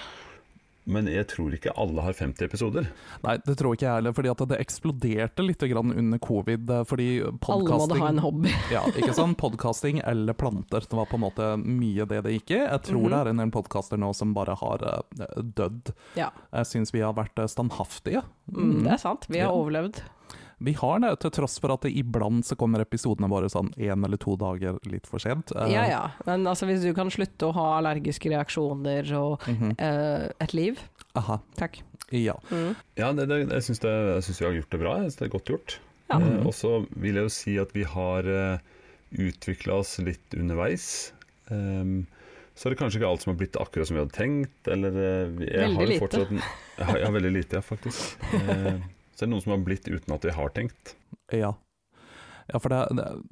Men jeg tror ikke alle har 50 episoder. Nei, det tror ikke jeg heller, fordi at det eksploderte litt grann under covid. eh, Fordi Alle måtte ha en podcasting- hobby. ja, ikke sånn podcasting eller planter, det var på en måte mye det det gikk i. Jeg Mhm. tror det er en del podkaster nå som bare har eh, dødd. Ja, Jeg syns vi har vært eh, standhaftige. mm, det er sant. Vi har Ja. overlevd. Vi har det, til tross for at det iblant så kommer episodene våre sånn én eller to dager litt for sent. Eh, Ja ja. Men altså, hvis du kan slutte å ha allergiske reaksjoner og eh, et liv mhm. Aha, Takk. ja. Ja, det, det, jeg syns vi har gjort det bra. Jeg synes det er godt gjort. Ja. Mm. Eh, og så vil jeg jo si at vi har eh, utvikla oss litt underveis. Ehm, så er det kanskje ikke alt som har blitt akkurat som vi hadde tenkt. Eller, eh, vi- jeg Veldig har jo lite. fortsatt en- Ja, ja, veldig lite, ja, faktisk. Eh, så er det noen som har blitt uten at vi har tenkt. ja. Ja, for det, det,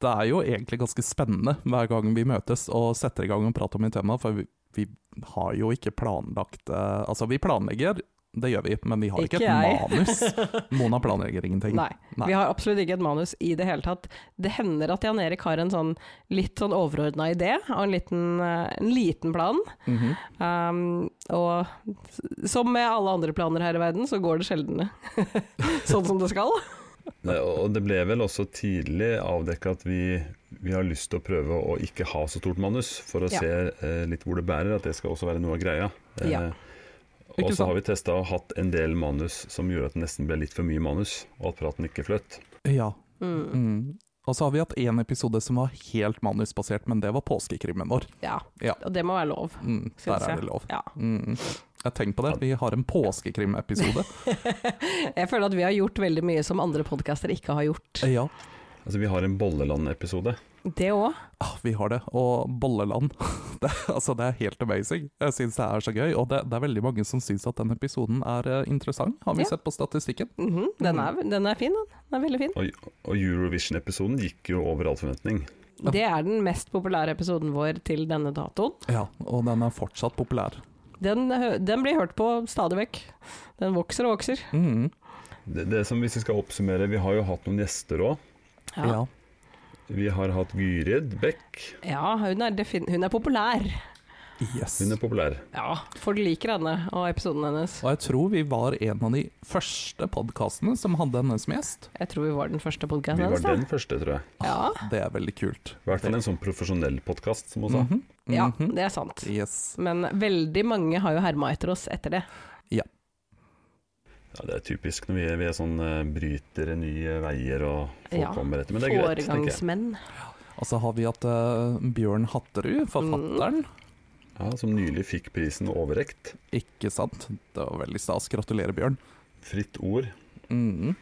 det er jo egentlig ganske spennende hver gang vi møtes og setter i gang og prater om et tema, for vi, vi har jo ikke planlagt eh, Altså, vi planlegger Det gjør vi, men vi har ikke, Ikke jeg. et manus. Mona planlegger ingenting. Nei, vi har absolutt ikke et manus i det hele tatt. Det hender at Jan Erik har en sånn litt sånn overordna idé, og en liten, eh, en liten plan. Mhm. Um, og s- som med alle andre planer her i verden, så går det sjelden sånn som det skal. Nei, Eh, og og det ble vel også tidlig avdekka at vi, vi har lyst til å prøve å ikke ha så stort manus, for å Ja. se eh, litt hvor det bærer, at det skal også være noe av greia. Eh, Ja. Og Ikke så sant? har vi testa og hatt en del manus som gjorde at det nesten ble litt for mye manus, og at praten ikke fløt. Ja. Mm. Og så har vi hatt én episode som var helt manusbasert, men det var påskekrimmen vår. Ja. Ja. Og det må være lov, Mm. syns Der jeg. er det lov. Ja. Mm. Jeg tenker på det, vi har en påskekrimepisode. Jeg føler at vi har gjort veldig mye som andre podcaster ikke har gjort. Ja, Altså, vi har en Bolleland-episode. Det òg. ah, vi har det. Og Bolleland. Det, altså, det er helt amazing. Jeg syns det er så gøy, og det, det er veldig mange som syns at den episoden er eh, interessant, har vi Ja. sett på statistikken. Mhm, den, er, den er fin, den. Den er veldig fin. Og, og Eurovision-episoden gikk jo over all forventning. Det er den mest populære episoden vår til denne datoen. Ja, og den er fortsatt populær. Den, hø- den blir hørt på stadig vekk. Den vokser og vokser. Mm. Det, det som Hvis vi skal oppsummere, vi har jo hatt noen gjester òg. Ja. Vi har hatt Gyrid Bekk. Ja, hun er, defin hun er populær. Yes. Hun er populær. Ja, folk liker henne og episoden hennes. Og jeg tror vi var en av de første podkastene som hadde henne som gjest. Jeg tror vi var den første podkasten Vi var hennes. da. den første, tror jeg. Ja. Det er veldig kult. I hvert fall en sånn profesjonell podkast, som hun sa. Mhm. ja, Mhm. det er sant. Yes. Men veldig mange har jo herma etter oss etter det. Ja, Det er typisk når vi er, vi er sånn eh, bryter nye veier og folk Ja. kommer etter. Men det er greit, tenker jeg. Foregangsmenn. Og så har vi hatt eh, Bjørn Hatterud, forfatteren. Mm. Ja, som nylig fikk prisen overrekt. Ikke sant? Det var veldig stas. Gratulerer, Bjørn. Fritt ord. Mhm.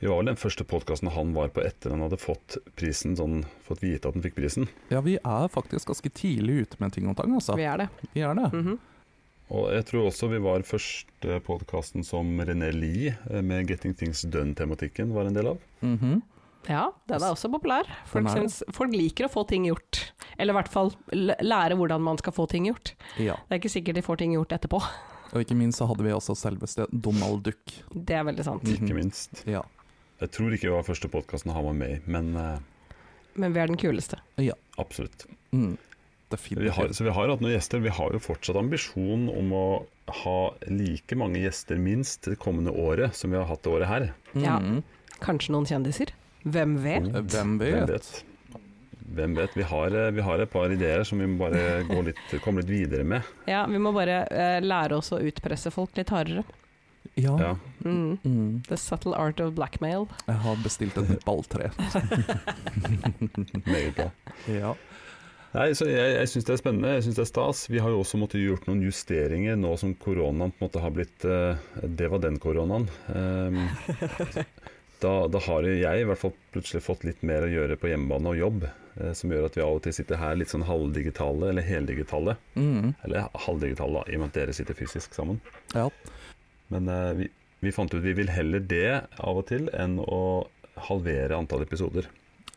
Vi var vel den første podkasten han var på etter han hadde fått prisen, sånn fått vite at han fikk prisen. Ja, vi er faktisk ganske tidlig ute med ting og tang, altså. Vi er det. Vi er det. Mhm. Og jeg tror også vi var første podkasten som René Lie eh, med 'Getting Things Done'-tematikken var en del av. Mm. Mhm. Ja, den er også populær. Den Folk, er det. syns, folk liker å få ting gjort. Eller i hvert fall l- lære hvordan man skal få ting gjort. Ja. Det er ikke sikkert de får ting gjort etterpå. Og ikke minst så hadde vi også selveste Donald Duck. Det er veldig sant. Mhm. Ikke minst. Ja. Jeg tror ikke vi var første podkasten han var med i, men eh, Men vi er den kuleste. absolutt. Mm. Vi har, Definitivt. så vi har hatt noen gjester. Vi har jo fortsatt ambisjon om å ha like mange gjester minst det kommende året som vi har hatt det året her. Ja. Mhm. Kanskje noen kjendiser? Hvem Mm. vet? Hvem vet? Hvem vet? Hvem vet? Vi har, eh, vi har et par ideer som vi må bare gå litt, komme litt videre med. Ja, vi må bare eh, lære oss å utpresse folk litt hardere. Ja. Ja. Mm. Mm. The subtle art of blackmail. Jeg har bestilt et nytt balltre. Meget bra. ja. Nei, så jeg, jeg syns det er spennende, jeg syns det er stas. Vi har jo også måttet gjort noen justeringer nå som koronaen på en måte har blitt eh, Det var den koronaen. Ehm, da, da har jo jeg i hvert fall plutselig fått litt mer å gjøre på hjemmebane og jobb, eh, som gjør at vi av og til sitter her litt sånn halvdigitale eller heldigitale. Mhm. Eller halvdigitale, da, i og med at dere sitter fysisk sammen. ja. Men eh, vi, vi fant ut vi vil heller det av og til enn å halvere antall episoder.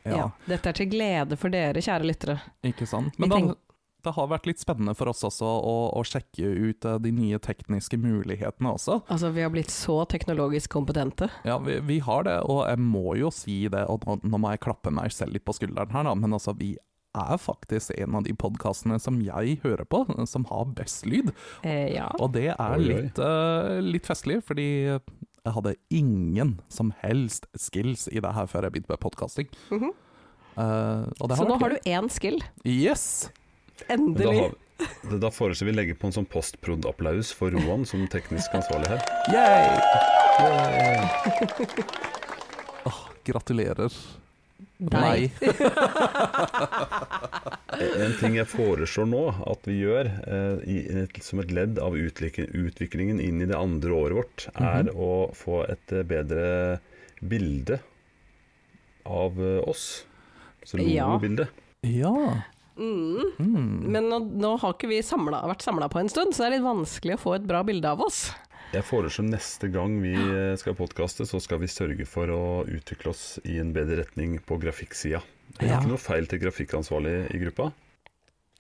Ja. Ja. Dette er til glede for dere, kjære lyttere. Ikke sant. Vi Men det, tenk- det har vært litt spennende for oss også å, å sjekke ut eh, de nye tekniske mulighetene også. Altså, vi har blitt så teknologisk kompetente. Ja, vi, vi har det, og jeg må jo si det, og nå, nå må jeg klappe meg selv litt på skulderen her, da, men altså, vi er faktisk en av de podkastene som jeg hører på, som har best lyd. Eh, ja. Og det er Oi, oi. litt, eh, litt festlig, fordi jeg hadde ingen som helst skills i det her før jeg begynte med podkasting. Mhm. Eh, og det har Så nå vært har gøy. du én skill. Yes! Men Da, Endelig. har, da- da foreslår vi å legge på en sånn postprod-applaus for Roan som teknisk ansvarlig her. Yay! Åh, gratulerer. Deg. En ting jeg foreslår nå at vi gjør eh, i, i- som et ledd av utlik- utviklingen inn i det andre året vårt, er å få et eh, bedre bilde av eh, oss. Så Ja. logobilde. Ja. Mm. Mm. Men nå, nå har ikke vi samla, vært samla på en stund, så det er litt vanskelig å få et bra bilde av oss. Jeg foreslår neste gang vi eh, skal podkaste, så skal vi sørge for å utvikle oss i en bedre retning på grafikksida. Det er Ja. ikke noe feil til grafikkansvarlig i gruppa.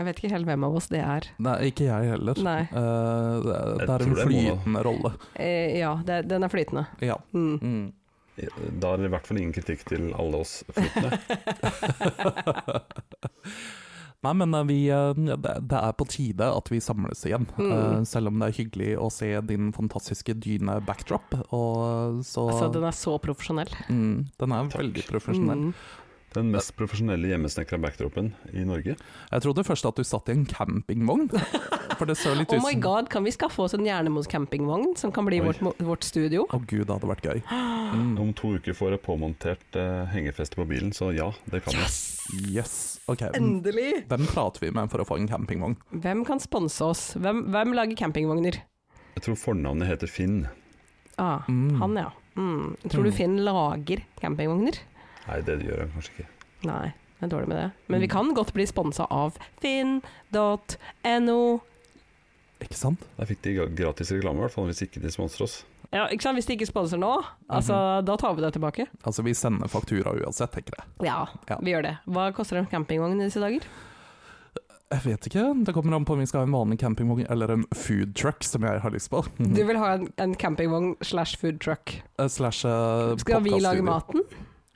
Jeg vet ikke helt hvem av oss det er. Nei, ikke jeg heller. Nei. Eh, det, Jeg det er tror en det er Mona. flytende rolle. Eh, ja, det, den er flytende. Ja. Mm. Mm. Da er det i hvert fall ingen kritikk til alle oss flyttende. Nei, men eh, vi, eh, det det er på tide at vi samles igjen. Mm. Eh, Selv om det er hyggelig å se din fantastiske dyne-backdrop. Og eh, så Altså, den er så profesjonell. mm, den er veldig profesjonell. Mm. Den mest profesjonelle hjemmesnekra backdropen i Norge. Jeg trodde først at du satt i en campingvogn. For det så litt Oh ut my som god, kan vi skaffe oss en Jernemos campingvogn som kan bli Oi. vårt, mo- vårt studio? Å gud, det hadde vært gøy. Mm. Om to uker får jeg påmontert eh, hengefeste på bilen, så ja, det kan jeg. Yes. Ok. m- Endelig! Hvem prater vi med for å få en campingvogn? Hvem kan sponse oss? Hvem, hvem lager campingvogner? Jeg tror fornavnet heter Finn. Ah, Mm. Han, ja. Mm. Tror du Mm. Finn lager campingvogner? Nei, det gjør jeg kanskje ikke. Nei, jeg er dårlig med det. Men Mm. vi kan godt bli sponsa av finn.no. Ikke sant? Der fikk de gratis reklame, i hvert fall hvis ikke de sponser oss. Ja, ikke sant? Hvis de ikke sponser nå, Mhm. altså, da tar vi det tilbake. Altså, vi sender faktura uansett, tenker jeg. Ja, Ja. vi gjør det. Hva koster en campingvogn i disse dager? Jeg vet ikke. Det kommer an på om vi skal ha en vanlig campingvogn eller en food truck, som jeg har lyst på. Du vil ha en, en campingvogn slash food truck. Eh, Slash eh, Skal vi lage podcaststudio. maten,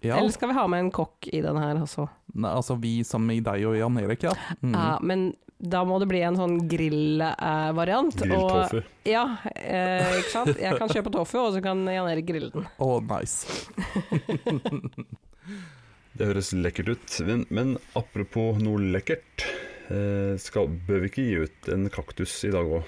Ja. eller skal vi ha med en kokk i den her også? Nei, altså vi som i deg og Jan Erik, ja. Mm. Ja, men da må det bli en sånn grillvariant. Grilltofu. Ja, eh, ikke sant. Jeg kan kjøpe tofu, og så kan Jan Erik grille den. Å, nice. Det høres lekkert ut. Men, men apropos noe lekkert. eh, Skal, bør vi ikke gi ut en kaktus i dag òg?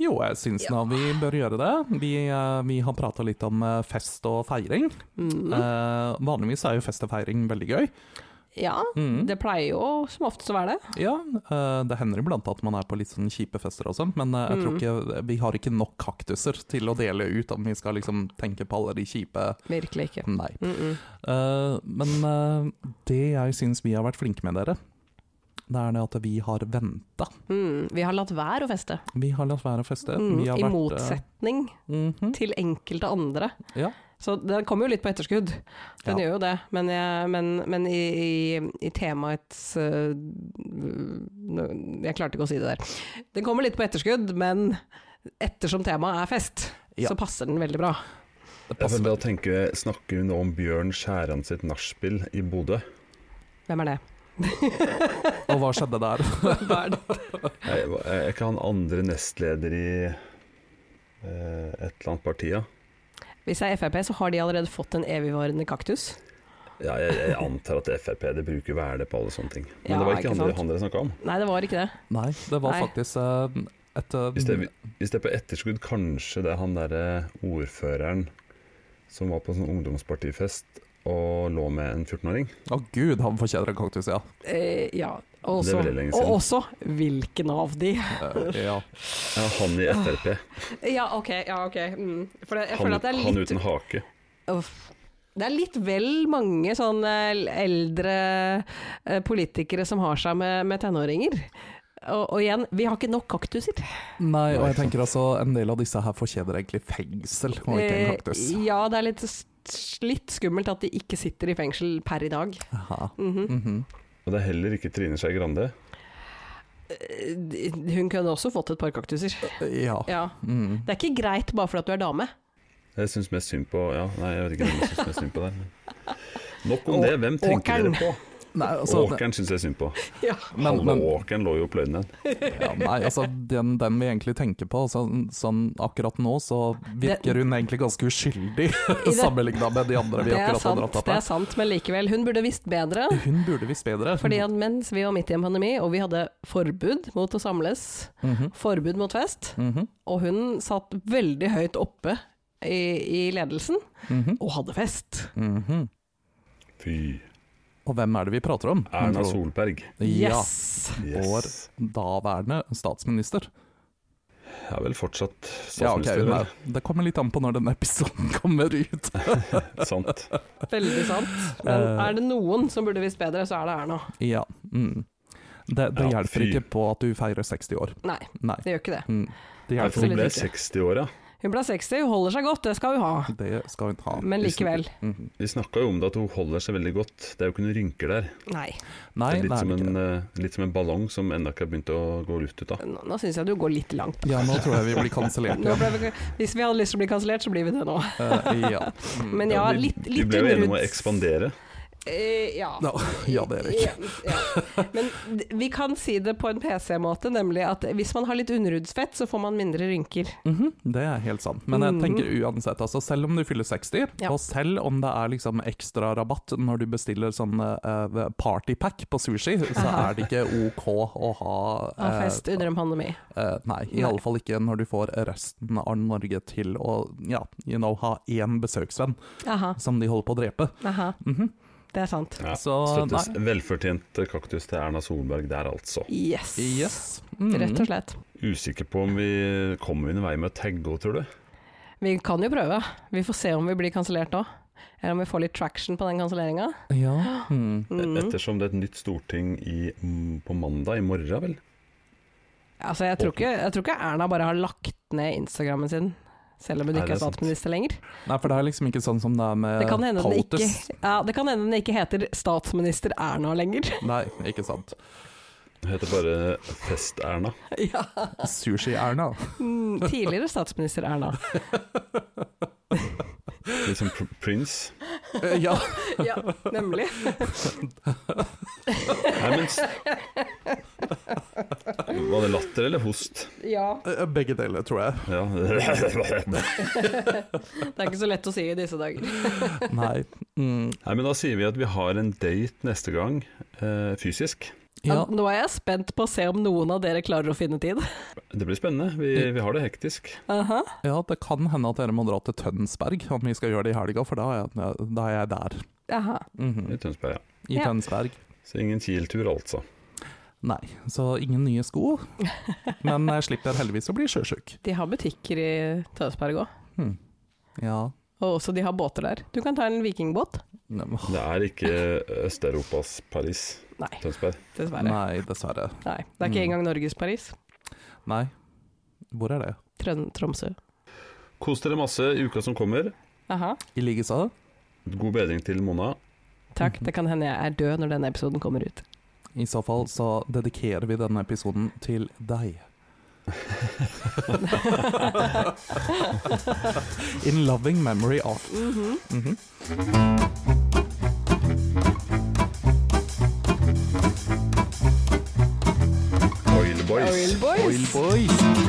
Jo, jeg syns nå vi bør gjøre det. Vi, eh, vi har prata litt om eh, fest og feiring. Mm. Eh, vanligvis er jo fest og feiring veldig gøy. Ja, Mm. det pleier jo som oftest å være det. Ja, eh, det hender iblant at man er på litt sånn kjipe fester og sånn, men eh, jeg tror Mm. ikke vi har ikke nok kaktuser til å dele ut om vi skal liksom tenke på alle de kjipe Virkelig ikke. Nei. Mm -mm. Eh, men eh, det jeg syns vi har vært flinke med dere, det er det at vi har venta. Mm, vi har latt være å feste, Vi har latt være å feste. mm, Vi har i vært, eh, motsetning mhm. til enkelte andre. Ja. Så den kommer jo litt på etterskudd, den Ja. gjør jo det. Men, jeg, men, men i, i, i temaets øh, nå- Jeg klarte ikke å si det der. Den kommer litt på etterskudd, men ettersom temaet er fest, Ja. så passer den veldig bra. Det passer Da tenker jeg, snakker vi nå om Bjørn Skjæran sitt nachspiel i Bodø. Hvem er det? Og hva skjedde der? Hva er det? Jeg, jeg, er ikke han andre nestleder i eh, et eller annet parti, ja. Hvis det er Frp, så har de allerede fått en evigvarende kaktus. Ja, jeg, jeg antar at Frp det bruker hverdag på alle sånne ting. Men Ja, det var ikke, ikke han, sant? han dere snakka om. Nei, det var ikke det. Nei, det var Nei. faktisk eh, et eh, Hvis det, Mm. hvis det er på etterskudd, kanskje det er han derre ordføreren som var på sånn ungdomspartifest og lå med en 14-åring. Å gud, han fortjener en kaktus, ja. Eh, ja. Og Det er også, veldig lenge og siden. også hvilken av de? Eh, ja. Ja, han i Frp. Ja, ok. Ja, ok. Mm. For det, jeg Han, føler at det er han litt uten hake. Uff. Det er litt vel mange sånne eldre eh, politikere som har seg med, med tenåringer. Og, og igjen, vi har ikke nok kaktuser. Nei, og jeg tenker altså en del av disse her fortjener egentlig fengsel, og ikke en kaktus. Eh, ja, det er litt, s- litt skummelt at de ikke sitter i fengsel per i dag. Aha. Mhm. Mhm. Og det er heller ikke Trine Skei Grande. Eh, de- Hun kunne også fått et par kaktuser. Ja. Ja. Mm. Det er ikke greit bare fordi at du er dame. Jeg syns mest synd på Ja, nei, jeg vet ikke hvem jeg syns mest synd på der. men- Nok om Å- det. Hvem tenker dere Åkeren. på? Nei, altså, Åkeren syns jeg synd på. Ja. men, Halve men, åkeren lå jo og pløyde ned. ja, nei, altså den, den vi egentlig tenker på, altså, sånn akkurat nå, så virker hun egentlig ganske uskyldig det- sammenligna med de andre vi Det er akkurat har dratt sant, opp det er her. sant, men likevel. Hun burde visst bedre. Hun burde visst bedre. Fordi at mens vi var midt i en pandemi, og vi hadde forbud mot å samles, Mhm. forbud mot fest, Mhm. Og hun satt veldig høyt oppe i, i ledelsen Mhm. og hadde fest. Mhm. Fy. Og hvem er det vi prater om? Erna Solberg. Ja. Yes! Vår Yes. daværende statsminister. Er vel fortsatt Ja, ok, statsminister, hun vel? er, Det kommer litt an på når den episoden kommer ut. Sant. Veldig sant. Eh. Men er det noen som burde visst bedre, så er det Erna. Ja. Mm. Det, det Ja, hjelper fy. ikke på at du feirer 60 år. Nei, Nei. det gjør ikke det. Mm. Det Nei, hjelper for hun Absolutt ble ikke. 60 år, ja. Hun ble 60, hun holder seg godt, det skal hun ha. Det skal hun ha. Men likevel. Mhm. Vi snakka jo om det at hun holder seg veldig godt. Det er jo ikke noen rynker der. Nei. Nei, det er litt, det er som det ikke. en, eh, litt som en ballong som ennå ikke har begynt å gå luft ut av. Nå, nå syns jeg du går litt langt. Ja, nå tror jeg vi blir kansellert Nå igjen. ble vi, hvis vi hadde lyst til å bli kansellert, så blir vi det nå. Eh, ja. Men ja, Mm. vi, litt, vi litt ble jo enige om å rundt- ekspandere. Eh, ja. Ja, ja, det er det ikke. Ja, ja. Men d- vi kan si det på en PC-måte, nemlig at hvis man har litt underhudsfett, så får man mindre rynker. Mhm, det er helt sant. Men jeg tenker uansett, altså, selv om du fyller 60, Mhm. Ja. og selv om det er liksom ekstra rabatt når du bestiller sånn eh, partypack på sushi, så er det ikke OK å ha Av eh, fest under en pandemi. eh, nei, i Nei. alle fall ikke når du får resten av Norge til å ja, you know, ha én besøksvenn Aha, som de holder på å drepe. aha. Mhm. Det er sant. Ja, Så, støttes nei. velfortjent kaktus til Erna Solberg der, altså. Yes. Yes. Mhm. Rett og slett. Usikker på om vi kommer vi noen vei med å tagge henne, tror du? Vi kan jo prøve. Vi får se om vi blir kansellert nå. Eller om vi får litt traction på den kanselleringa. Ja. mhm. Ettersom det er et nytt storting i, mm, på mandag, i morgen vel? Altså, jeg tror, ikke, jeg tror ikke Erna bare har lagt ned Instagrammen sin. Selv om hun Nei, ikke det er er sant. statsminister lenger. Nei, for det er liksom ikke sånn som det er med Det kan hende den ikke, POTUS. ja, det kan hende den ikke heter statsminister Erna lenger. Nei, ikke sant. Det heter bare Fest-Erna. ja. Sushi-Erna. Mm, Tidligere statsminister Erna. Litt som Liksom pr Prince. Eh, ja. ja, nemlig. Nei, men s- Var det latter eller host? Ja. Eh, Begge deler, tror jeg. Ja. Det er ikke så lett å si i disse dager. Nei. Mm. Nei, men da sier vi at vi har en date neste gang, eh, fysisk. Ja. Nå er jeg spent på å se om noen av dere klarer å finne tid. Det blir spennende. Vi, vi har det hektisk. Aha. ja, det kan hende at dere må dra til Tønsberg om vi skal gjøre det i helga, for da er jeg, da er jeg der. Aha. I Mhm. Tønsberg, ja. I Ja. Tønsberg. Så ingen Kiel-tur, altså. Nei, så ingen nye sko. Men jeg slipper heldigvis å bli sjøsjuk. De har butikker i Tønsberg òg, Mhm. Ja. og også de har båter der. Du kan ta en vikingbåt. Nem- Det er ikke Øst-Europas Paris, Nei, Tønsberg. dessverre. Nei, Nei, dessverre. Det er ikke Mm. engang Norges Paris. Nei. Hvor er det? Trøn Tromsø. Kos dere masse i uka som kommer. Aha. I likeså. God bedring til Mona. Takk. Det kan hende jeg er død når denne episoden kommer ut. I så fall så dedikerer vi denne episoden til deg. In loving memory of. Mhm. Oil Boys. Oil boys. Oil boys.